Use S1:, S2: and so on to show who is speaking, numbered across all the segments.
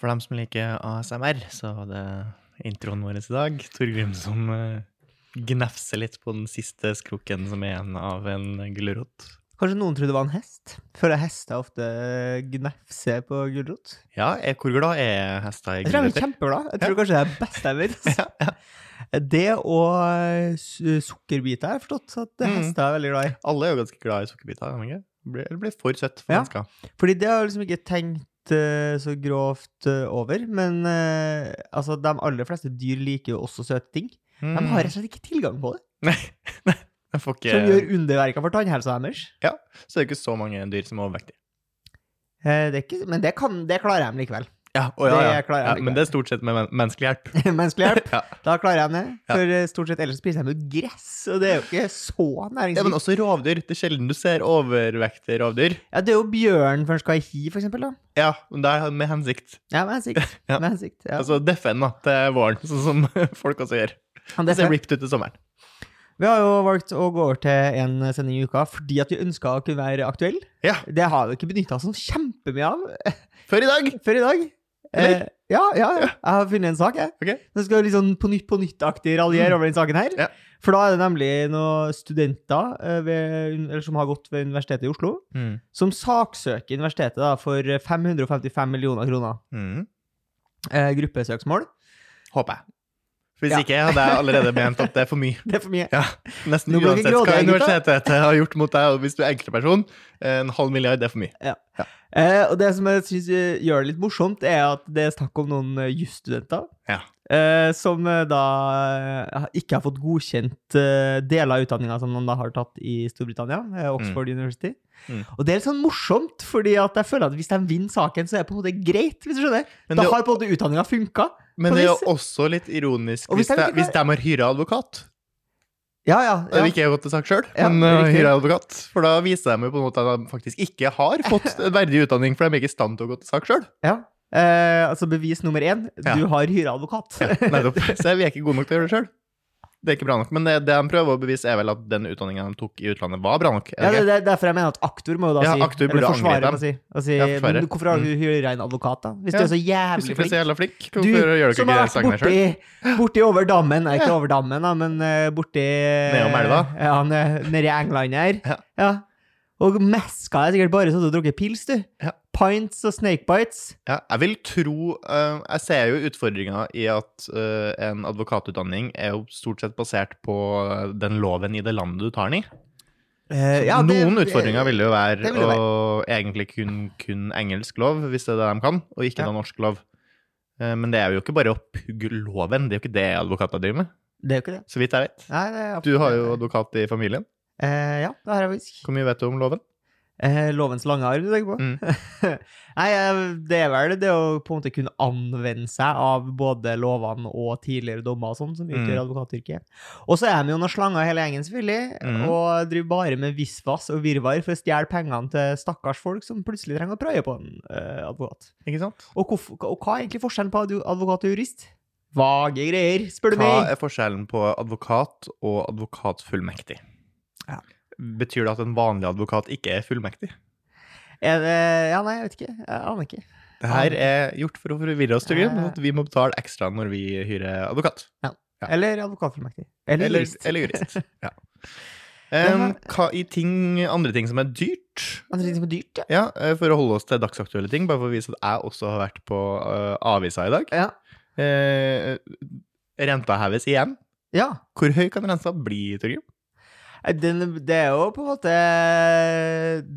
S1: For dem som liker ASMR, så var det introen vår i dag. Torgrim som eh, gnefser litt på den siste skrukken som er igjen av en gulrot.
S2: Kanskje noen trodde det var en hest? Føler jeg hester ofte gnefser på gulrot.
S1: Ja, er, hvor glad er hester i
S2: Jeg tror de er
S1: gulrøtter?
S2: kjempeglade. Jeg tror kanskje det er det beste jeg vet. Det og su- sukkerbiter har jeg forstått at
S1: Mm.
S2: hester er veldig glad i.
S1: Alle er jo ganske glad i sukkerbiter, er de ikke? Blir- Eller blir for søtt for
S2: Ja.
S1: mennesker.
S2: Fordi det har jeg liksom ikke tenkt eh, så grovt eh, over. Men eh, altså, de aller fleste dyr liker jo også søte ting.
S1: Mm.
S2: De har rett og slett ikke tilgang på det,
S1: Nei, nei, jeg får ikke
S2: som gjør underverker for tannhelsa deres.
S1: Så det er ikke så mange dyr som er overvektige.
S2: Eh, Det er ikke, men det, kan, det klarer de likevel.
S1: Ja, å ja, ja.
S2: Det klarer jeg
S1: ja, men
S2: likevel.
S1: det er stort sett med men menneskelig hjelp.
S2: Menneskelig hjelp.
S1: Ja.
S2: Da klarer jeg det.
S1: Ja.
S2: For eh, stort sett ellers spiser jeg jo gress, og det er jo ikke så
S1: Ja, men
S2: næringsrikt.
S1: også rovdyr. Det er sjelden du ser overvektige rovdyr.
S2: Ja, det er jo bjørn før den skal i hi, for eksempel. Da.
S1: Ja, men det er med hensikt.
S2: Ja, med hensikt.
S1: Ja.
S2: Med hensikt ja.
S1: Altså deffen da, til våren, sånn som folk også gjør.
S2: Han
S1: Det ser
S2: detter.
S1: ripped ut til sommeren.
S2: vi har jo valgt å gå over til en eh, sending i uka fordi at vi ønska å kunne være aktuelle.
S1: Ja.
S2: Det har vi ikke benytta oss sånn kjempemye av eh,
S1: Før i dag!
S2: før i dag. Eh,
S1: Eller?
S2: ja, ja, ja. Jeg har funnet en sak, jeg.
S1: Ok.
S2: Nå skal vi litt sånn på nytt på nytt-aktig raljere
S1: Mm.
S2: over den saken her.
S1: Ja.
S2: For da er det nemlig noen studenter eh, ved, eller som har gått ved Universitetet i Oslo, som saksøker universitetet da, for 555 millioner kroner. Eh, gruppesøksmål.
S1: Mm. Håper jeg. Hvis
S2: Ja.
S1: ikke hadde jeg allerede ment at det er for mye.
S2: Det er for mye.
S1: Ja, Nesten
S2: Nå ble det
S1: uansett
S2: grådig,
S1: hva
S2: gutta.
S1: universitetet har gjort mot deg, og hvis du er enkeltperson, en halv milliard det er for mye.
S2: Eh, og det som jeg synes eh, gjør det litt morsomt, er at det er snakk om noen eh, jusstudenter.
S1: Ja.
S2: Eh, som eh, da eh, ikke har fått godkjent eh, deler av utdanninga som de da har tatt i Storbritannia, eh, Oxford University.
S1: Mm.
S2: Og det er litt sånn morsomt, fordi at jeg føler at hvis de vinner saken, så er det på en måte greit. hvis du skjønner.
S1: Men
S2: Da
S1: det,
S2: har på en måte utdanninga funka.
S1: men det er jo også litt ironisk
S2: Og hvis
S1: hvis
S2: jeg
S1: de,
S2: ikke
S1: hvis de har hyra advokat.
S2: Ja, ja.
S1: Det
S2: ja.
S1: vil ikke jeg gå til sak sjøl,
S2: Ja,
S1: men uh,
S2: riktig.
S1: hyra advokat. For da viser de jo på en måte at de faktisk ikke har fått en verdig utdanning, for de er ikke i stand til å gå til sak sjøl.
S2: Eh, altså bevis nummer én,
S1: Ja.
S2: du har hyra advokat.
S1: Nettopp. Så vi er ikke gode nok til å gjøre det sjøl. Det er ikke bra nok. Men det, det de prøver å bevise, er vel at den utdanninga de tok i utlandet, var bra nok. er det
S2: Ja,
S1: ikke?
S2: det, det er derfor jeg mener at aktor må jo da
S1: Ja,
S2: si
S1: aktor burde
S2: Eller forsvarer
S1: angripe
S2: må si, og si
S1: Ja, forsvarer. Mm.
S2: men Hvorfor har du hyra en advokat, da? Hvis
S1: Ja,
S2: du er så
S1: Hvis du ikke
S2: jævlig
S1: er så
S2: flink.
S1: jævla flink,
S2: Du
S1: hvorfor gjør dere ikke
S2: som har
S1: de
S2: vært
S1: sangene sjøl?
S2: borti, borti over dammen Nei, ikke
S1: Ja.
S2: over dammen, da, men eh, borti
S1: Nedom elva.
S2: Ja, ne- nede i England her.
S1: Ja.
S2: Og meska er sikkert bare sånn at du drukket pils, du.
S1: Ja.
S2: Pints og snakebites.
S1: Ja, jeg vil tro eh, Jeg ser jo utfordringa i at eh, en advokatutdanning er jo stort sett basert på eh, den loven i det landet du tar den i.
S2: Eh, ja, det-
S1: Noen utfordringer vil det jo være
S2: det vil det være.
S1: å egentlig kun, kun engelsk lov, hvis det er det de kan, og ikke
S2: Ja.
S1: da norsk lov. Eh, Men det er jo ikke bare å pugge loven, det er jo ikke det advokater driver med,
S2: Det er jo ikke det.
S1: så vidt jeg vet.
S2: Nei, det er,
S1: Du har jo advokat i familien.
S2: Eh, Ja, det har jeg faktisk.
S1: Hvor mye vet du om loven?
S2: Eh, lovens lange arm du tenker på?
S1: Mm.
S2: Nei, eh, det er vel det å på en måte kunne anvende seg av både lovene og tidligere dommer og sånn, som utgjør
S1: Mm.
S2: advokatyrket. Og så er de jo noen slanger hele gjengen, selvfølgelig,
S1: Mm.
S2: og driver bare med visvas og virvar for å stjele pengene til stakkars folk som plutselig trenger å prøve på en eh, advokat.
S1: Ikke sant?
S2: Og, hvorf- og hva er egentlig forskjellen på adu- advokat og jurist? Vage greier, spør du
S1: Hva
S2: meg.
S1: er forskjellen på advokat og advokatfullmektig?
S2: Ja.
S1: Betyr det at en vanlig advokat ikke er fullmektig?
S2: Er det, ja, nei, jeg vet ikke. Jeg aner ikke.
S1: Det her er gjort for å forvirre oss, Torgrim.
S2: Ja.
S1: At vi må betale ekstra når vi hyrer advokat. Ja.
S2: Eller advokatfullmektig. Eller,
S1: Eller
S2: jurist.
S1: Eller jurist. Ja.
S2: Det
S1: Em,
S2: var-
S1: hva i ting, andre ting som er dyrt?
S2: Andre ting som er dyrt, ja.
S1: Ja, eh, For å holde oss til dagsaktuelle ting, bare for å vise at jeg også har vært på eh, avisa i dag.
S2: Ja.
S1: Eh, renta heves igjen.
S2: ja.
S1: Hvor høy kan renta bli, Torgrim?
S2: Nei, Den, det er jo på en måte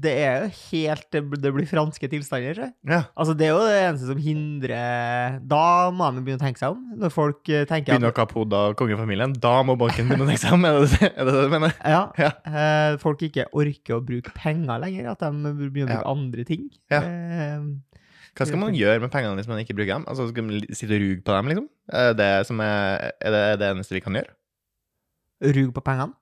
S2: Det er jo helt Det blir- det blir franske tilstander. tror jeg.
S1: Ja.
S2: Altså, det er jo det eneste som hindrer Da må man begynne å tenke seg om. Når folk eh, tenker
S1: Begynner
S2: at,
S1: å kappe hodet av kongefamilien. Da må banken begynne å tenke seg om. Er det er det det du mener?
S2: ja,
S1: Ja.
S2: eh, folk ikke orker å bruke penger lenger. At de begynner å
S1: Ja.
S2: bruke andre ting.
S1: Ja.
S2: Eh,
S1: Hva skal man gjøre med pengene hvis man ikke bruker dem? Altså, Skal man li- sitte og ruge på dem, liksom? Er det, som er, er det er det eneste vi kan gjøre?
S2: rug på pengene.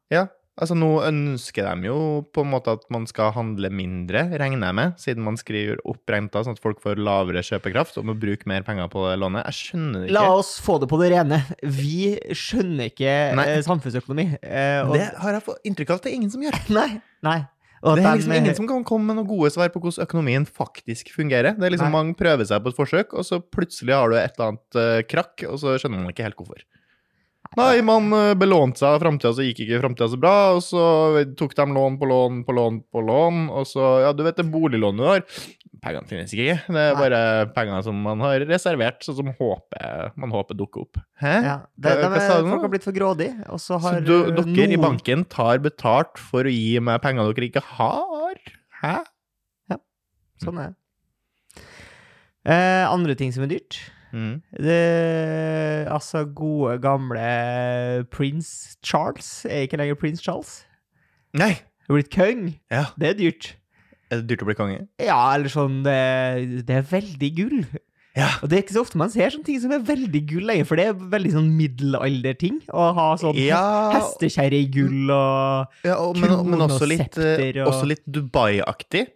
S1: Altså, Nå ønsker de jo på en måte at man skal handle mindre, regner jeg med, siden man skriver opp renta sånn at folk får lavere kjøpekraft og må bruke mer penger på det lånet. Jeg skjønner det ikke.
S2: La oss få det på det rene. Vi skjønner ikke
S1: Nei.
S2: eh, samfunnsøkonomi. eh, og-
S1: Det har jeg fått inntrykk av at det er ingen som gjør.
S2: Nei. nei. Og at
S1: Det er
S2: de-
S1: liksom ingen som kan komme med noen gode svar på hvordan økonomien faktisk fungerer. Det er liksom
S2: Nei.
S1: Mange prøver seg på et forsøk, og så plutselig har du et eller annet eh, krakk, og så skjønner man ikke helt hvorfor. Nei, man eh, belånte seg av framtida, så gikk ikke framtida så bra, og så tok de lån på lån på lån på lån, og så Ja, du vet det boliglånet du har. Pengene finnes ikke. Det er
S2: Nei.
S1: bare penger som man har reservert, sånn som håpet, man håper dukker opp. Hæ?
S2: ja, det,
S1: Hva-
S2: de,
S1: hva sa du nå?
S2: Folk har blitt for grådige, og
S1: Så
S2: så har
S1: du,
S2: eh,
S1: dere i
S2: noen-
S1: banken tar betalt for å gi meg penger dere ikke har? Hæ?
S2: Sånn er det. Eh, andre ting som er dyrt
S1: Mm.
S2: det, Altså, gode, gamle prins Charles er ikke lenger prins Charles.
S1: Nei!
S2: Er blitt kong.
S1: Ja.
S2: Det er dyrt.
S1: Er det dyrt å bli konge?
S2: Ja, eller sånn Det, det er veldig gull.
S1: Ja.
S2: Og det er ikke så ofte man ser sånne ting som er veldig gull lenger, for det er veldig sånn middelalderting å ha sånn
S1: Ja,
S2: hestekjerre i gull og
S1: ja og, men,
S2: krone
S1: men også
S2: og
S1: litt, eh,
S2: septer og-
S1: også litt Dubai-aktig.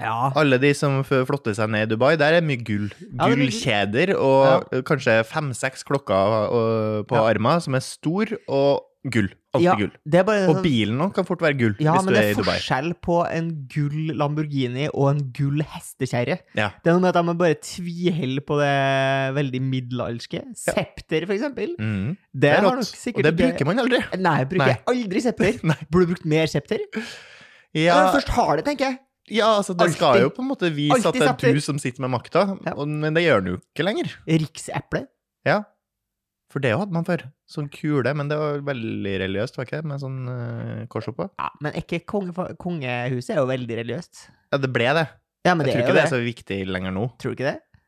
S2: Ja.
S1: Alle de som f- flotter seg ned i Dubai, der er mye gull.
S2: Ja, det er mye
S1: Gullkjeder og eh, kanskje fem-seks klokker eh, på
S2: Ja.
S1: armen som er stor, og gull. Alltid
S2: Ja,
S1: gull.
S2: Det er bare
S1: Og
S2: sånn-
S1: bilen nå kan fort være gull
S2: Ja,
S1: hvis
S2: men
S1: du
S2: det
S1: er i
S2: er
S1: Dubai.
S2: forskjell på en gull Lamborghini og en gull hestekjerre.
S1: Ja.
S2: Det er noe med at de bare tviholder på det veldig middelalderske. Septer, for eksempel.
S1: Mm.
S2: Det,
S1: Det er
S2: har
S1: rått.
S2: nok
S1: Og
S2: sikkert
S1: det bruker man aldri.
S2: Nei, jeg bruker
S1: Nei.
S2: aldri septer.
S1: Nei.
S2: Burde brukt mer septer.
S1: Ja,
S2: Når du først har det, tenker jeg.
S1: ja altså, den skal
S2: Alltid.
S1: jo på en måte vise at
S2: Alltid
S1: det
S2: septer.
S1: er du som sitter med makta,
S2: Ja.
S1: og- men det gjør den jo ikke lenger.
S2: Riksepple.
S1: For det hadde man før. Sånn kule, men det var veldig religiøst, var ikke det? Med sånn eh, kors oppå.
S2: Ja, men ikke kongefa- kongehuset er jo veldig religiøst.
S1: Ja, det ble det.
S2: Ja, men
S1: Jeg
S2: det
S1: tror
S2: er jo
S1: ikke det altså.
S2: det.
S1: er så viktig lenger nå.
S2: Tror du ikke det?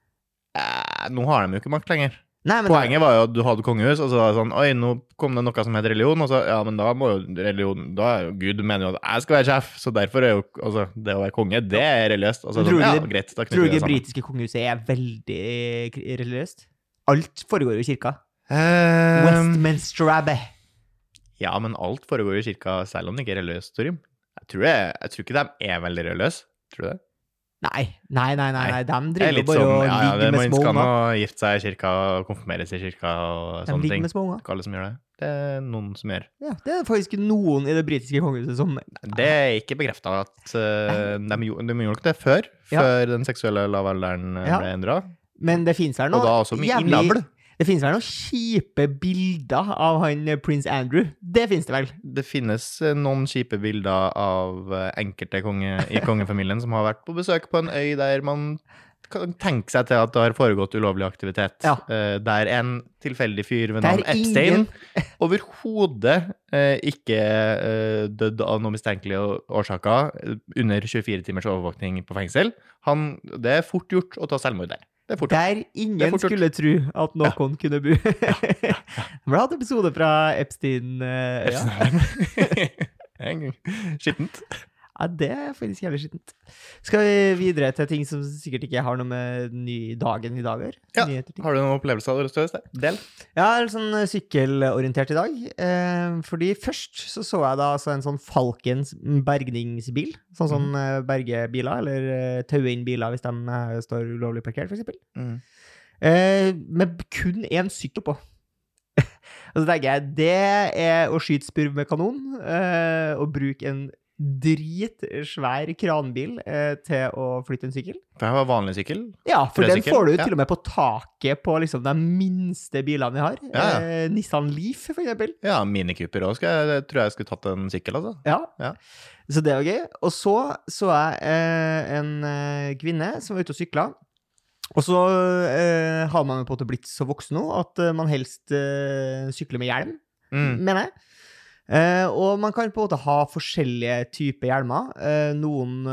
S1: Eh, nå har de jo ikke makt lenger.
S2: Nei, men
S1: Poenget var jo at du hadde kongehus, og så var det sånn Oi, nå kom det noe som het religion, og så Ja, men da må jo religion Da er jo Gud mener jo at jeg skal være sjef, så derfor er jo Altså, det å være konge, det er religiøst. Altså,
S2: Men
S1: sånn,
S2: tror du
S1: ja,
S2: det-
S1: greit, da knytter
S2: tror du
S1: vi det
S2: ikke det
S1: sammen.
S2: britiske kongehuset er veldig k- religiøst? Alt foregår jo i kirka.
S1: Eh,
S2: Westminster Abbey.
S1: ja, men alt foregår i kirka, selv om det ikke er religiøst, Torim. Jeg tror, det, jeg tror ikke de er veldig religiøse. Tror du det?
S2: Nei, nei, nei, nei, nei. de
S1: Det er
S2: driver jo
S1: litt
S2: bare
S1: sånn
S2: og
S1: Ja, ja, det,
S2: ligger med
S1: man
S2: små
S1: skal nå
S2: unger.
S1: gifte seg i kirka og konfirmeres i kirka og
S2: De
S1: sånne
S2: ligger
S1: ting.
S2: med små unger.
S1: Ikke alle som gjør det. Det er noen som gjør.
S2: Ja, det er faktisk noen i det britiske kongehuset som
S1: Det er ikke bekrefta at eh, de, gjorde, de gjorde nok det før.
S2: Ja.
S1: Før den seksuelle lavalderen eh,
S2: Ja.
S1: ble endra.
S2: Men det finnes vel
S1: Og da
S2: noe
S1: også med innavl.
S2: Det finnes vel noen kjipe bilder av han eh, prins Andrew. Det finnes det vel.
S1: Det finnes eh, noen kjipe bilder av eh, enkelte konge, i kongefamilien som har vært på besøk på en øy der man kan tenke seg til at det har foregått ulovlig aktivitet.
S2: Ja.
S1: Eh, der en tilfeldig fyr ved
S2: Der
S1: navn Epstein
S2: ingen-
S1: overhodet eh, ikke eh, døde av noen mistenkelige å- årsaker eh, under 24 timers overvåkning på fengsel. Han, det er fort gjort å ta selvmord der. Det er fort gjort.
S2: Der
S1: Det er
S2: ingen
S1: fort gjort.
S2: skulle tro at noen kunne bo. Bra episode fra Epstein. eh, Ja.
S1: Epstein. Skittent.
S2: ja, det er faktisk jævlig skittent. Skal vi videre til ting som sikkert ikke har noe med ny dagen i dag å gjøre?
S1: Ja.
S2: Nyheter, ting.
S1: Har du noen opplevelser du har lyst til å dele? Del.
S2: Ja, jeg er litt sånn eh, sykkelorientert i dag. Eh, fordi først så så jeg da altså en sånn Falkens bergningsbil. Sånn som eh, bergebiler, eller eh, taue inn biler hvis de eh, står ulovlig parkert, f.eks. Eh, med kun én sykkel på. Og så tenker jeg, det er å skyte spurv med kanon, eh, og bruke en dritsvær kranbil eh, til å flytte en sykkel.
S1: For jeg var vanlig sykkel.
S2: Ja, for den
S1: Frøsykkel,
S2: får du jo
S1: ja.
S2: til og med på taket på liksom de minste bilene vi har.
S1: Ja, ja.
S2: Eh, Nissan Leaf, for eksempel.
S1: Ja, minikuper òg. Jeg tror jeg skulle tatt en sykkel, altså.
S2: Ja.
S1: Ja.
S2: Så det var gøy. Og så så jeg eh, en eh, kvinne som var ute og sykla. Og så eh, har man jo på en måte blitt så voksen nå at eh, man helst eh, sykler med hjelm,
S1: Mm.
S2: mener jeg. Eh, og man kan på en måte ha forskjellige typer hjelmer. Eh, noen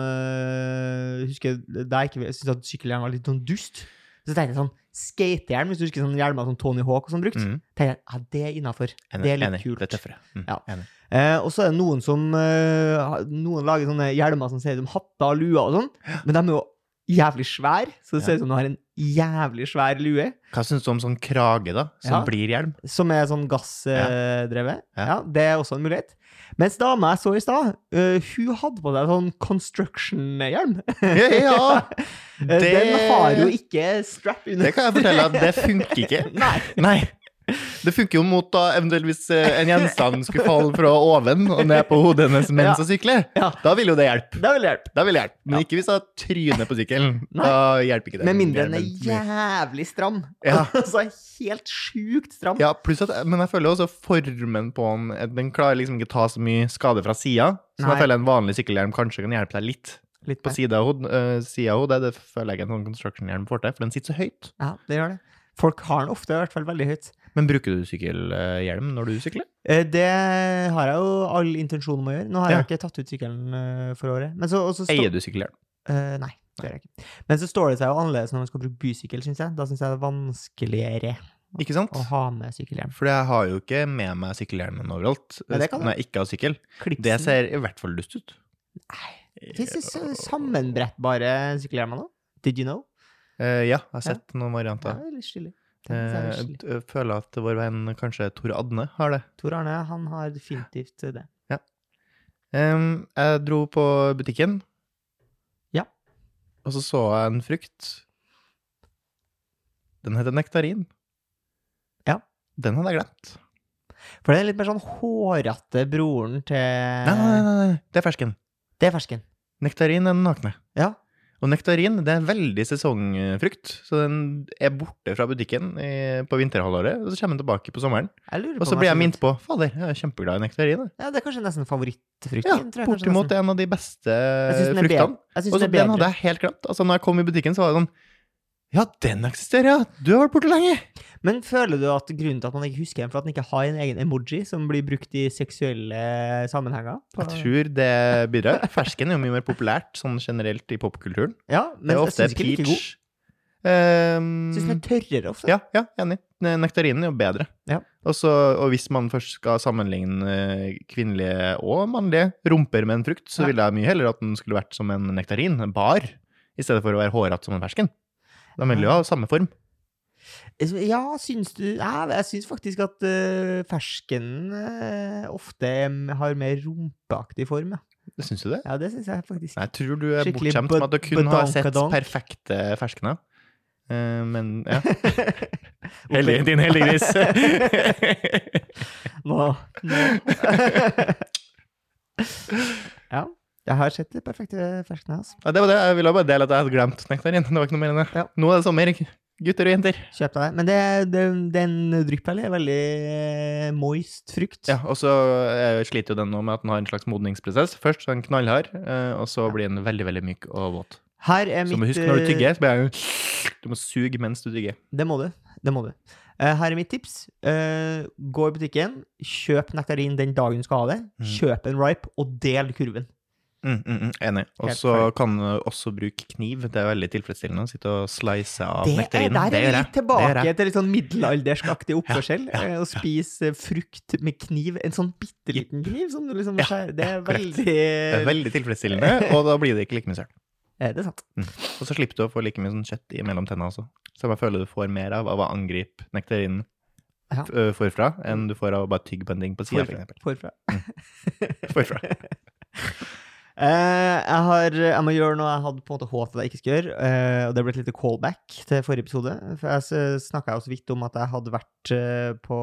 S2: eh, husker da jeg ikke syntes at sykkelhjelm var litt sånn dust. Så tenkte jeg sånn skatehjelm, hvis du husker sånne hjelmer som Tony Hawk og sånn brukt.
S1: Mm.
S2: tenkte jeg, ja, det er innafor.
S1: Enig,
S2: Det er litt
S1: enig.
S2: kult.
S1: Det er tøffere. Mm.
S2: Ja.
S1: Enig.
S2: Eh, og så er det noen som eh, ha- Noen lager sånne hjelmer som ser ut som hatter og luer og sånn, men de er jo jævlig svære, så det ser ut som du har en jævlig svær lue,
S1: Hva syns du om sånn krage, da? Som
S2: Ja.
S1: blir hjelm?
S2: som er sånn gassdrevet.
S1: Ja.
S2: Ja. det er også en mulighet. Mens dama jeg så i stad, eh, hun hadde på seg sånn construction-hjelm.
S1: Ja, ja.
S2: Eh, Den har jo ikke strap under.
S1: det kan jeg fortelle at det funker ikke.
S2: Nei.
S1: Nei. Det funker jo mot da eventuelt hvis eh, en gjenstand skulle falle fra oven og ned på hodet hennes mens hun sykler.
S2: Ja.
S1: Da vil jo det hjelpe.
S2: Det vil hjelpe.
S1: Da vil det hjelpe. Men ikke hvis hun tryner på sykkelen.
S2: Nei.
S1: Da hjelper ikke det.
S2: Med mindre den er
S1: Men-
S2: jævlig stram.
S1: Ja.
S2: altså helt sjukt stram.
S1: Ja, pluss at, eh, men jeg føler jo også formen på den eh, Den klarer liksom ikke ta så mye skade fra sida. Så
S2: Nei.
S1: jeg føler en vanlig sykkelhjelm kanskje kan hjelpe deg litt.
S2: Litt
S1: På
S2: mer.
S1: sida av hodet, eh, sida av hodet det føler jeg ikke en sånn construction-hjelm får til, for den sitter så høyt.
S2: Ja, det gjør det. Folk har den ofte, i hvert fall veldig høyt.
S1: Men bruker du sykkelhjelm når du sykler?
S2: Eh, Det har jeg jo all intensjon om å gjøre. Nå har jeg
S1: Ja.
S2: ikke tatt ut sykkelen eh, for året. Men så, og så
S1: Eier du sykkelhjelm?
S2: Eh, nei, det gjør jeg ikke. Men så står det seg jo annerledes når man skal bruke bysykkel, syns jeg. Da syns jeg det er vanskeligere
S1: Ikke sant?
S2: å ha med sykkelhjelm.
S1: For jeg har jo ikke med meg sykkelhjelmen overalt
S2: Ja, det kan du.
S1: når jeg ikke har sykkel.
S2: Klipsen
S1: Det ser i hvert fall dust ut.
S2: Det Fins det så- sammenbrettbare sykkelhjelmer nå? Did you know?
S1: Eh, ja, jeg har sett noen
S2: Ja,
S1: varianter.
S2: det er litt stilig. Det er
S1: Eh,
S2: litt stilig.
S1: jeg føler at vår venn kanskje Tor Adne har det.
S2: Tor Arne han har definitivt eh, det.
S1: Em, jeg dro på butikken.
S2: Ja.
S1: Og så så jeg en frukt. Den heter nektarin.
S2: Ja.
S1: Den hadde jeg glemt.
S2: For det er litt mer sånn hårete broren til
S1: Nei, nei, nei, nei, det er fersken.
S2: Det er fersken.
S1: Nektarin er den nakne.
S2: Ja.
S1: Og nektarin det er veldig sesongfrukt, så den er borte fra butikken i, på vinterhalvåret. Og så kommer den tilbake på sommeren.
S2: Jeg lurer på
S1: Og så
S2: om
S1: blir jeg
S2: skjønner-
S1: minnet på Fader, jeg er kjempeglad i nektarin. jeg».
S2: Ja, Det er kanskje nesten favorittfrukten.
S1: Ja,
S2: tror jeg kanskje
S1: bortimot
S2: nesten.
S1: en av de beste
S2: Jeg syns den er
S1: fruktene.
S2: bedre. Jeg synes
S1: Og så
S2: den er
S1: den hadde
S2: bedre.
S1: jeg helt glemt. Altså, når jeg kom i butikken, så var det sånn Ja, den eksisterer, ja! Du har vært borte lenge!
S2: Men føler du at grunnen til at man ikke husker den, for at den ikke har en egen emoji som blir brukt i seksuelle sammenhenger? På-
S1: Jeg tror det bidrar. Fersken er jo mye mer populært sånn generelt i popkulturen.
S2: Ja,
S1: Det
S2: men
S1: er
S2: jeg
S1: ofte
S2: syns ikke den er like god.
S1: peach. Ehm,
S2: Syns den er tørrere ofte.
S1: ja, ja, enig. Ne- Nektarinen er jo bedre.
S2: Ja.
S1: Og så- og hvis man først skal sammenligne eh, kvinnelige og mannlige rumper med en frukt, så
S2: Ja.
S1: ville jeg mye heller at den skulle vært som en nektarin, en bar, i stedet for å være hårete som en fersken. De vil jo ha samme form.
S2: Ja, syns du ja, Jeg syns faktisk at øh, ferskenen øh, ofte er- har mer rumpeaktig form, ja.
S1: Syns du det?
S2: ja det syns jeg faktisk.
S1: Nei, Jeg tror du er
S2: Skikkelig
S1: bortskjemt med at du
S2: bad-
S1: kun har sett
S2: badankadonk.
S1: perfekte ferskener. Eh, men ja.
S2: Oppe-
S1: Heldig, din heldige gris.
S2: Nå. nå. ja. Jeg har sett det perfekte ferskenen hans.
S1: ja, det var det. Jeg ville bare dele at jeg hadde glemt nektarin. Det var ikke noe mer enn det.
S2: Ja.
S1: Nå er det sommer, gutter og jenter.
S2: Kjøp deg det. Men det, det, den dryppelen er veldig øh, moist frukt.
S1: Ja, og så eh, sliter jo den nå med at den har en slags modningsprosess. Først så er den knallhard, eh, og så blir den veldig veldig myk og våt.
S2: Her er
S1: Så
S2: mitt
S1: må du huske når du
S2: øh,
S1: tygger, så blir jeg jo Du må suge mens du tygger.
S2: Det må du. Det må du. Eh, her er mitt tips. Eh, gå i butikken, kjøp nektarin den dagen du skal ha det.
S1: Mm.
S2: Kjøp en ripe, og del kurven.
S1: Mm, mm, mm, enig. Og
S2: Helt
S1: så kan du også bruke kniv. Det er veldig tilfredsstillende å sitte og slice av
S2: Det er,
S1: nektarinen.
S2: der er vi
S1: gjør jeg. Det
S2: litt
S1: gjør
S2: tilbake
S1: jeg.
S2: til litt sånn middelalderskaktig oppførsel. eh, Å spise eh, frukt med kniv. En sånn bitte liten kniv som du liksom
S1: Ja,
S2: skjærer. Det er
S1: ja, korrekt.
S2: veldig
S1: Det er veldig tilfredsstillende, og da blir det ikke like mye sølt.
S2: Er eh, det sant?
S1: Og så slipper du å få like mye sånn kjøtt i mellom tennene også. Så jeg bare føler du får mer av, av å angripe nektarinen
S2: Ja.
S1: f- ø, forfra, enn du får av å bare tygge på en ting på sida,
S2: Forfra.
S1: f.eks.
S2: Forfra.
S1: Forfra.
S2: Eh, jeg, har, jeg må gjøre noe jeg hadde på en måte håpet at jeg ikke skulle gjøre. eh, og det ble et lite callback til forrige episode. For jeg snakka jo så vidt om at jeg hadde vært eh, på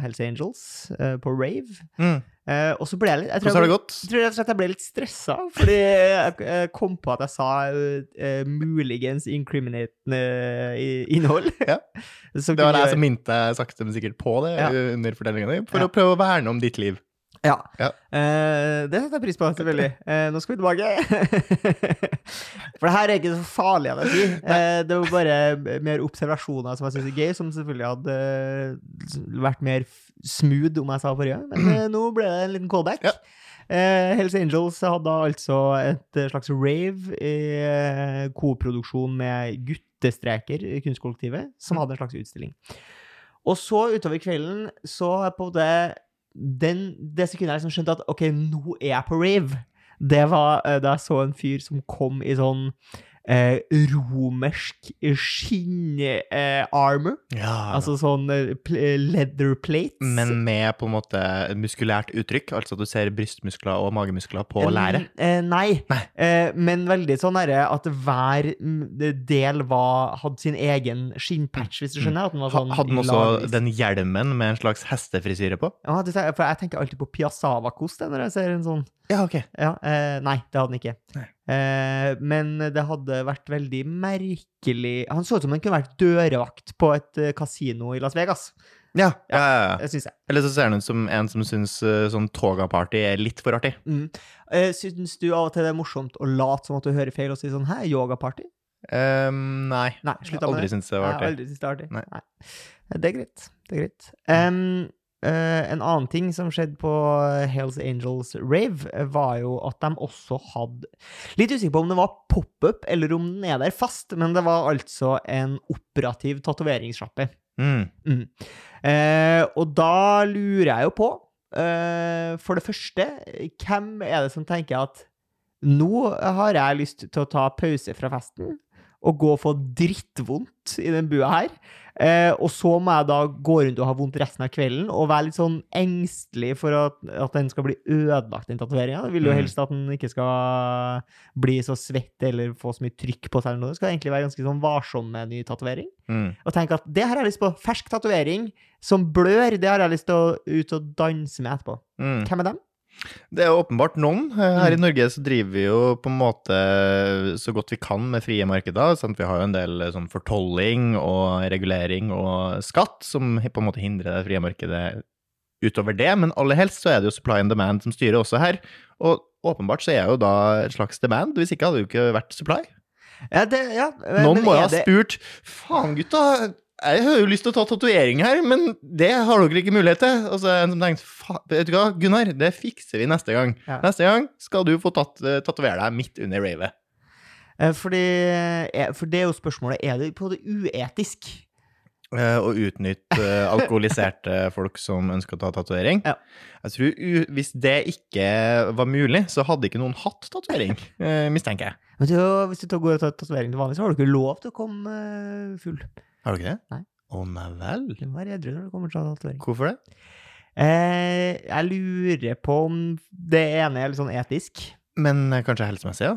S2: Hells Angels, eh, på rave.
S1: Mm.
S2: Eh, og så ble jeg litt Jeg
S1: Hvordan
S2: tror,
S1: har det
S2: jeg ble,
S1: gått?
S2: jeg tror rett og slett jeg ble litt stressa, fordi jeg jeg kom på at jeg sa eh, muligens incriminating eh, innhold.
S1: Ja.
S2: Som
S1: Det var jeg
S2: kunne gjøre-
S1: som minte deg sakte, men sikkert på det
S2: Ja.
S1: ø, under fortellinga di, for
S2: Ja.
S1: å prøve å verne om ditt liv.
S2: Ja.
S1: Ja.
S2: Eh, det setter jeg pris på, selvfølgelig. Eh, nå skal vi tilbake. For det her er ikke så farlig av deg å si. Eh, det var bare mer observasjoner som jeg syns er gøy, som selvfølgelig hadde eh, vært mer f- smooth om jeg sa forrige gang, men eh, nå ble det en liten callback.
S1: Ja.
S2: Eh, Hells Angels hadde altså et eh, slags rave i eh, koproduksjon med guttestreker i kunstkollektivet,
S1: Mm.
S2: som hadde en slags utstilling. Og så utover kvelden, så har jeg på det den, Det sekundet jeg liksom skjønte at OK, nå er jeg på rave, det var eh, da jeg så en fyr som kom i sånn eh, romersk skinn-armor.
S1: Ah, Ja,
S2: altså sånn eh, pl- eh, leather plates.
S1: men med på en måte muskulært uttrykk, altså at du ser brystmuskler og magemuskler på læret.
S2: Eh, nei.
S1: Nei.
S2: Eh, men veldig sånn derre at hver mm, del var, hadde sin egen skinnpatch, hvis du skjønner? At den var
S1: Mm. Ha,
S2: sånn
S1: hadde den
S2: i
S1: også
S2: lagvis.
S1: den hjelmen med en slags hestefrisyre på?
S2: Ja, Ah, det, for jeg tenker alltid på Piazzava-kost jeg, når jeg ser en sånn.
S1: Ja, ok.
S2: Ja, eh, nei, det hadde den ikke.
S1: Nei.
S2: Eh, men det hadde vært veldig merkelig Han så ut som han kunne vært dørvakt på et eh, kasino i Las Vegas.
S1: Ja, ja, ja. ja.
S2: Det syns jeg.
S1: Eller så ser den ut som en som syns eh, sånn toga-party er litt for artig.
S2: Mm. Eh, syns du av og til det er morsomt å late som at du hører feil, og si sånn 'hæ, yogaparty'?
S1: Ehm, nei.
S2: Nei,
S1: Jeg
S2: slutt
S1: har
S2: med
S1: aldri
S2: det.
S1: syntes det
S2: Jeg
S1: var
S2: har
S1: artig.
S2: aldri syntes det er artig.
S1: Nei.
S2: Det er greit. Det er greit. Em, eh, en annen ting som skjedde på eh, Hells Angels Rave, eh, var jo at de også hadde Litt usikker på om det var pop-up, eller om den er der fast, men det var altså en operativ tatoveringssjappe.
S1: Mm.
S2: Eh, og da lurer jeg jo på, eh, for det første, hvem er det som tenker at nå har jeg lyst til å ta pause fra festen og gå og få drittvondt i den bua her, eh, og så må jeg da gå rundt og ha vondt resten av kvelden og være litt sånn engstelig for at, at den skal bli ødelagt, den tatoveringa. Jeg vil jo
S1: Mm.
S2: helst at den ikke skal bli så svett eller få så mye trykk på seg eller noe. Det skal egentlig være ganske sånn varsom med en ny tatovering
S1: Mm.
S2: og tenke at det har jeg lyst på. Fersk tatovering som blør, det har jeg lyst til å ut og danse med etterpå.
S1: Mm.
S2: Hvem er dem?
S1: Det er jo åpenbart noen. Eh, Her i Norge så driver vi jo på en måte eh, så godt vi kan med frie markeder. Sant? Vi har jo en del eh, sånn fortolling og regulering og skatt som hi- på en måte hindrer det frie markedet utover det, men aller helst så er det jo supply and demand som styrer også her. Og åpenbart så er jo da et slags demand, hvis ikke hadde det jo ikke vært supply.
S2: Ja, det, ja, men
S1: Noen må jo
S2: er
S1: ha
S2: det-
S1: spurt Faen, gutta, jeg har jo lyst til å ta tatovering her, men det har dere ikke mulighet til. Og så er det en som tenkte "Fa- Vet du hva, Gunnar, det fikser vi neste gang.
S2: Ja.
S1: Neste gang skal du få tatt, eh, tatovere deg midt under ravet.
S2: Eh, Fordi, eh, for det er jo spørsmålet er det på det uetisk.
S1: Eh, Og utnytte eh, alkoholiserte folk som ønsker å ta tatovering.
S2: Ja.
S1: Jeg tror u Hvis det ikke var mulig, så hadde ikke noen hatt tatovering, eh, mistenker jeg.
S2: Men du, hvis du tar- går og tar tatovering til vanlig, så har du ikke lov til å komme eh, full.
S1: Har du ikke det?
S2: Nei.
S1: Å nei vel.
S2: Du må være edru når du kommer til å ta tatovering.
S1: Hvorfor det?
S2: Eh, jeg lurer på om det ene er litt sånn etisk,
S1: Men eh, kanskje helsemessig, ja.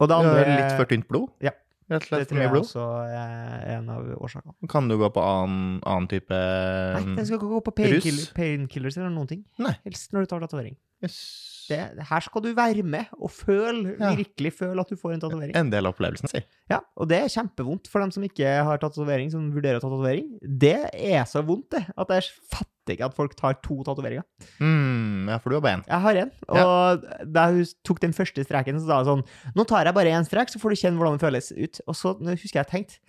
S2: og det
S1: Du
S2: andre
S1: har litt for tynt blod.
S2: Ja.
S1: Rett og slett
S2: Det
S1: for
S2: tror jeg
S1: mye blod.
S2: også er en av årsakene.
S1: Kan du gå på annen, annen type mm,
S2: Nei, den skal ikke gå på
S1: Um, Russ?
S2: painkiller- painkillers eller noen ting.
S1: Nei.
S2: Helst når du tar tatovering.
S1: Yes.
S2: det, her skal du være med og føle,
S1: Ja.
S2: virkelig føle at du får en tatovering.
S1: En del av opplevelsen, si.
S2: Ja, og det er kjempevondt for dem som ikke har tatovering, som vurderer å ta tatovering. Det er så vondt, det, at jeg fatter ikke at folk tar to tatoveringer.
S1: Mm, ja, for du har bare én.
S2: Jeg har én, og da hun tok den første streken, så sa hun sånn Nå tar jeg bare én strek, så får du kjenne hvordan det føles ut. Og så nå husker jeg jeg tenkte jeg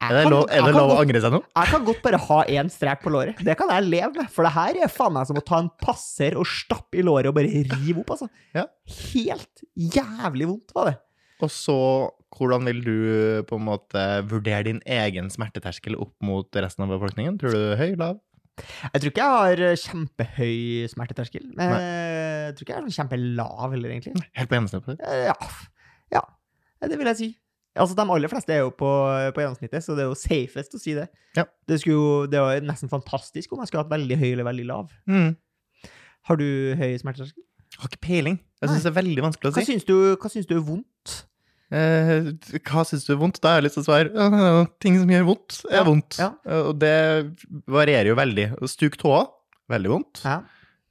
S1: Er det
S2: kan-
S1: lov, er
S2: jeg
S1: det
S2: kan
S1: lov å
S2: godt-
S1: angre seg nå?
S2: Jeg kan godt bare ha én strek på låret. Det kan jeg leve med. For det her er faen meg som å ta en passer og stappe i låret og bare rive opp, altså.
S1: Ja.
S2: Helt jævlig vondt var det.
S1: Og så, hvordan vil du på en måte vurdere din egen smerteterskel opp mot resten av befolkningen? Tror du høy, lav?
S2: Jeg tror ikke jeg har eh, kjempehøy smerteterskel. Men jeg tror ikke jeg er sånn kjempelav heller, egentlig.
S1: Helt på gjennomsnittet?
S2: Eh, Ja. ja. Eh, Det vil jeg si. Altså, De aller fleste er jo på, eh, på gjennomsnittet, så det er jo safest å si det.
S1: Ja.
S2: Det, skulle, jo- det var jo nesten fantastisk om jeg skulle hatt veldig høy eller veldig lav.
S1: Mm.
S2: Har du høy smerteterskel?
S1: Har ikke peiling. Jeg syns det er veldig vanskelig å
S2: Hva
S1: si.
S2: syns du, hva syns du er vondt?
S1: Eh, hva syns du er vondt? Da har jeg lyst til å svare «Øh, ting som gjør vondt, er
S2: Ja,
S1: vondt.
S2: ja.
S1: Eh, Og det varierer jo veldig. Stuk tåa, veldig vondt.
S2: Ja.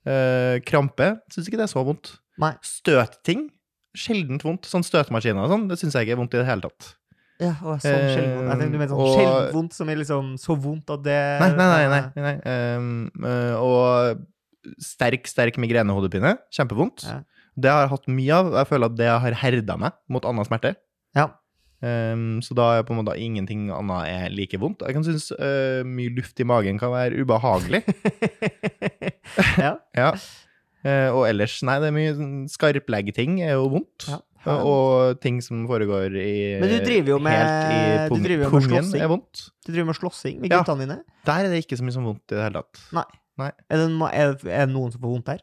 S1: Eh, krampe, syns ikke det er så vondt.
S2: Nei.
S1: Støtting, sjeldent vondt. Sånn støtemaskiner og sånn, det syns jeg ikke er vondt i det hele tatt.
S2: Ja, og sånn sjelden vondt. Jeg tenkte du mente
S1: Eh,
S2: sånn
S1: og-
S2: sjelden vondt som er liksom så vondt at det
S1: Nei, nei, nei.
S2: eh.
S1: nei, nei. Um, eh, og sterk, sterk migrenehodepine, kjempevondt.
S2: Ja.
S1: Det har jeg hatt mye av. Jeg føler at det har herda meg mot annen smerte.
S2: Ja.
S1: Um, så da er på en måte ingenting annet er like vondt. Jeg kan synes eh, mye luft i magen kan være ubehagelig.
S2: ja.
S1: ja. Eh, og ellers, nei, det er mye sånn skarpleggeting er jo vondt.
S2: ja.
S1: Og ting som foregår i
S2: Men du driver jo med-
S1: Helt i
S2: du
S1: pung-
S2: driver jo med
S1: pungen
S2: slåssing.
S1: er vondt.
S2: Du driver med slåssing med
S1: Ja.
S2: guttene dine.
S1: Der er det ikke så mye som vondt i det hele tatt.
S2: Er det, no- er, er det noen som får vondt der?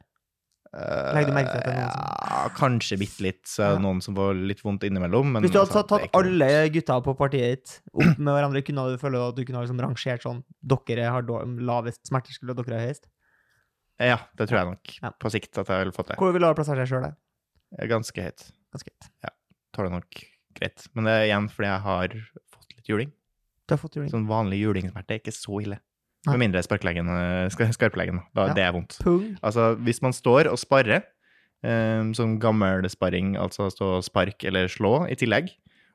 S1: Eh,
S2: Legg du merke til at det er noen som-
S1: Ja, kanskje bitte litt. så er det
S2: Ja.
S1: Noen som får litt vondt innimellom. Men
S2: Hvis du hadde
S1: altså,
S2: tatt, tatt
S1: det er ikke noe-
S2: alle gutta på partiet ditt opp med hverandre, kunne du føle at du kunne ha liksom rangert sånn Dere har dår- lavest smerterskulder, dere har høyest.
S1: Ja, det tror jeg nok.
S2: Ja.
S1: På sikt at jeg vil fått det.
S2: Hvor ville du ha plassert deg sjøl, da?
S1: Jeg er ganske høyt.
S2: Ganske greit.
S1: Tar det nok greit. Men det er igjen fordi jeg har fått litt juling.
S2: Du har fått juling.
S1: Sånn vanlig julingsmerte er ikke så ille.
S2: Nei.
S1: Med mindre sparkeleggen, eh, sk- skarpleggen. Da,
S2: Ja.
S1: Det er vondt.
S2: Pung.
S1: Altså, hvis man står og sparrer, eh, som gammel sparring, altså stå og spark eller slå i tillegg,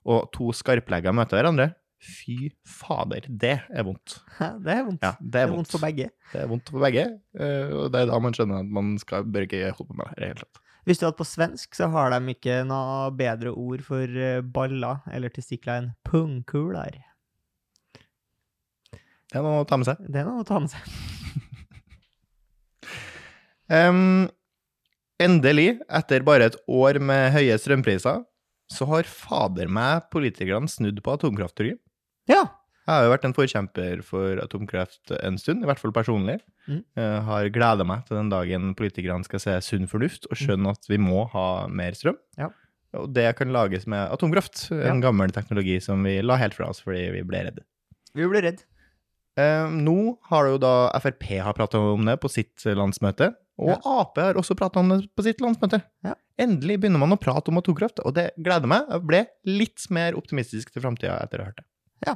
S1: og to skarplegger møter hverandre, fy fader, det er vondt.
S2: Hæ, Det er vondt.
S1: Ja, det
S2: det
S1: er vondt.
S2: for begge.
S1: Det er vondt for begge, eh, og det er da man skjønner at man skal bør ikke holde på med det. i det hele tatt.
S2: Visste du at på svensk så har de ikke noe bedre ord for eh, baller eller testikler enn pungkuler?
S1: Det er noe å ta med seg.
S2: Det er noe å ta med seg.
S1: Em, endelig, etter bare et år med høye strømpriser, så har fader meg politikerne snudd på atomkraftteorien.
S2: Ja!
S1: Jeg har jo vært en forkjemper for atomkraft en stund, i hvert fall personlig.
S2: Mm.
S1: Eh, har gleda meg til den dagen politikerne skal se sunn fornuft og skjønne at vi må ha mer strøm.
S2: Mm. Ja.
S1: Og det kan lages med atomkraft, en gammel teknologi som vi la helt fra oss fordi vi ble redde.
S2: Vi ble redd.
S1: Eh, nå har det jo da Frp har prata om det på sitt eh, landsmøte, og
S2: Ja.
S1: Ap har også prata om det på sitt landsmøte.
S2: Ja.
S1: Endelig begynner man å prate om atomkraft, og det gleder meg. Jeg ble litt mer optimistisk til framtida etter å ha hørt det.
S2: Ja.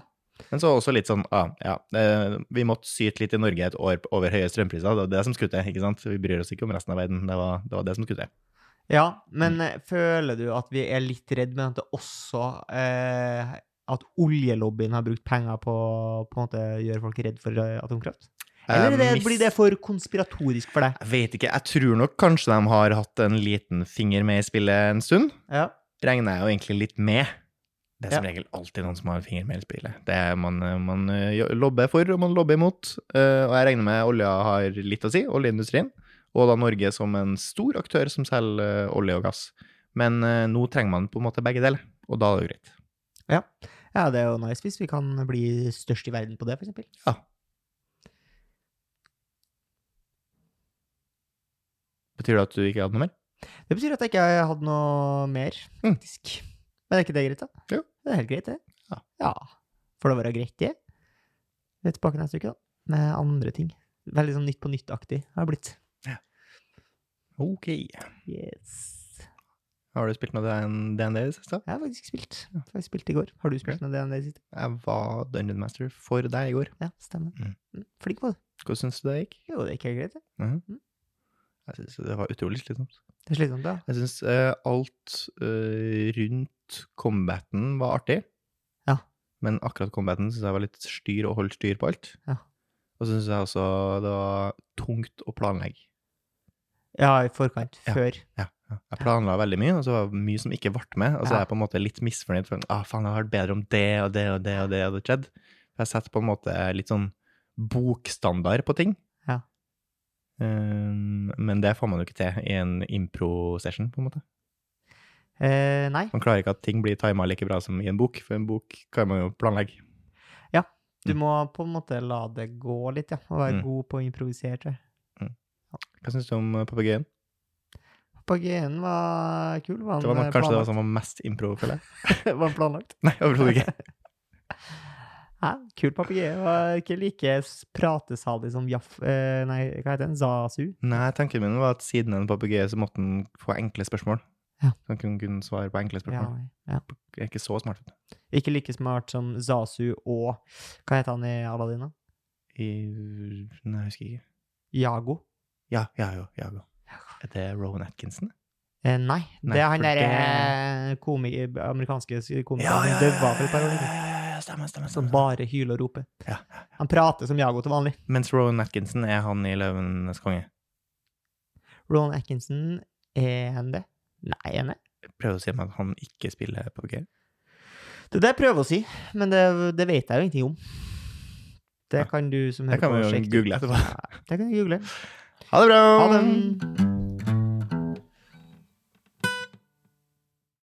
S1: Men så også litt sånn ah, ja, eh, vi måtte syte litt i Norge et år over høye strømpriser. Det var det som skulle til, ikke sant? Vi bryr oss ikke om resten av verden. Det var det, var det som skulle til.
S2: Ja, men eh, føler du at vi er litt redd, men at det også eh, At oljelobbyen har brukt penger på å på en måte gjøre folk redd for eh, atomkraft? Eller er det,
S1: Jeg mis-
S2: blir det for konspiratorisk for deg?
S1: Eh, Jeg vet ikke. Jeg tror nok kanskje de har hatt en liten finger med i spillet en stund.
S2: Ja.
S1: regner jeg jo egentlig litt med. Det er som
S2: Ja.
S1: regel alltid noen som har en finger med i spillet. Det er man, man eh, jo- lobber for, og man lobber imot. Eh, Og jeg regner med olja har litt å si, oljeindustrien. Og da Norge som en stor aktør som selger eh, olje og gass. Men eh, nå trenger man på en måte begge deler, og da er det jo greit.
S2: ja, det er jo nice hvis vi kan bli størst i verden på det, for eksempel.
S1: Ja. Betyr det at du ikke hadde noe mer?
S2: Det betyr at jeg ikke har hatt noe mer,
S1: Mm.
S2: faktisk. Men er ikke det greit, da?
S1: Jo.
S2: Det er helt greit, det.
S1: Ja.
S2: Får det være greit, det. Vi er tilbake neste uke, da. Med andre ting. Veldig sånn Nytt på nytt-aktig har det blitt.
S1: Ok.
S2: Yes.
S1: Har du spilt noe DN- DND i det siste?
S2: Jeg har faktisk spilt. Jeg har spilt i går. Har du spilt noe DND i det siste?
S1: Jeg var Dungeon Master for deg i går.
S2: Ja, stemmer.
S1: Mm.
S2: Mm. Flink på det.
S1: Hvordan syns du det gikk?
S2: Jo, det er ikke greit, det.
S1: Jeg syns det var utrolig slitsomt.
S2: Det er slitsomt, da.
S1: Jeg syns alt eh, rundt combaten var artig.
S2: Ja.
S1: Men akkurat combaten syns jeg var litt styr og holdt styr på alt.
S2: Ja.
S1: Og så syns jeg også det var tungt å planlegge.
S2: Ja, i forkant.
S1: Ja.
S2: Før.
S1: Jeg planla veldig mye, og så var det mye som ikke ble med. Og så
S2: Ja.
S1: er jeg på en måte litt misfornøyd. For ah, faen, det hadde vært bedre om det og det og det og det hadde skjedd. For jeg setter på en måte litt sånn bokstandard på ting.
S2: Ja.
S1: Eh, men det får man jo ikke til i en impro-session, på en måte.
S2: Eh, nei.
S1: Man klarer ikke at ting blir tima like bra som i en bok, for en bok kan man jo planlegge.
S2: Du må på en måte la det gå litt, ja. Og være
S1: Mm.
S2: god på å improvisere, tror jeg.
S1: Hva syns du om eh, papegøyen?
S2: Papagøyen var kul. Var han
S1: Det var nok
S2: eh,
S1: kanskje det
S2: planlagt?
S1: som var mest impro, føler jeg.
S2: var han planlagt?
S1: Nei, overhodet ikke.
S2: Hæ? Kul papegøye. Var ikke like s- pratesalig som Jaff... eh, nei, hva heter den? Zazu?
S1: Nei, tanken min var at siden en papegøye så måtte han få enkle spørsmål.
S2: Ja.
S1: Så han kunne, kunne svare på enkle
S2: Ja,
S1: spørsmål.
S2: ja.
S1: Jeg er ikke så smart, vet du.
S2: Ikke like smart som Zazu og Hva heter han i Aladdin, da?
S1: I Nei, jeg husker ikke.
S2: Jago?
S1: Ja, ja, jo, ja, jo. Er det Rowan Atkinson?
S2: Eh, nei,
S1: Nei,
S2: det er han
S1: for
S2: derre eh, komi amerikanske s- komikeren
S1: Ja,
S2: som
S1: ja, ja,
S2: døva for et par år
S1: ja,
S2: siden.
S1: ja, ja, ja, stemmer, stemmer.
S2: Som
S1: stemmer.
S2: bare hyler og roper.
S1: Ja,
S2: Han prater som Jago til vanlig.
S1: Mens Rowan Atkinson er han i Løvenes konge.
S2: Roland Atkinson, er han det? Nei, han er
S1: Prøver å si meg at han ikke spiller papegøye.
S2: Det er det jeg prøver å si, men det, det vet jeg jo ingenting om. Det
S1: Ja.
S2: kan du som
S1: Det
S2: hører
S1: kan
S2: på
S1: vi jo
S2: sjekke ut.
S1: google etterpå.
S2: Det kan du google.
S1: Ha det bra!
S2: Ha det!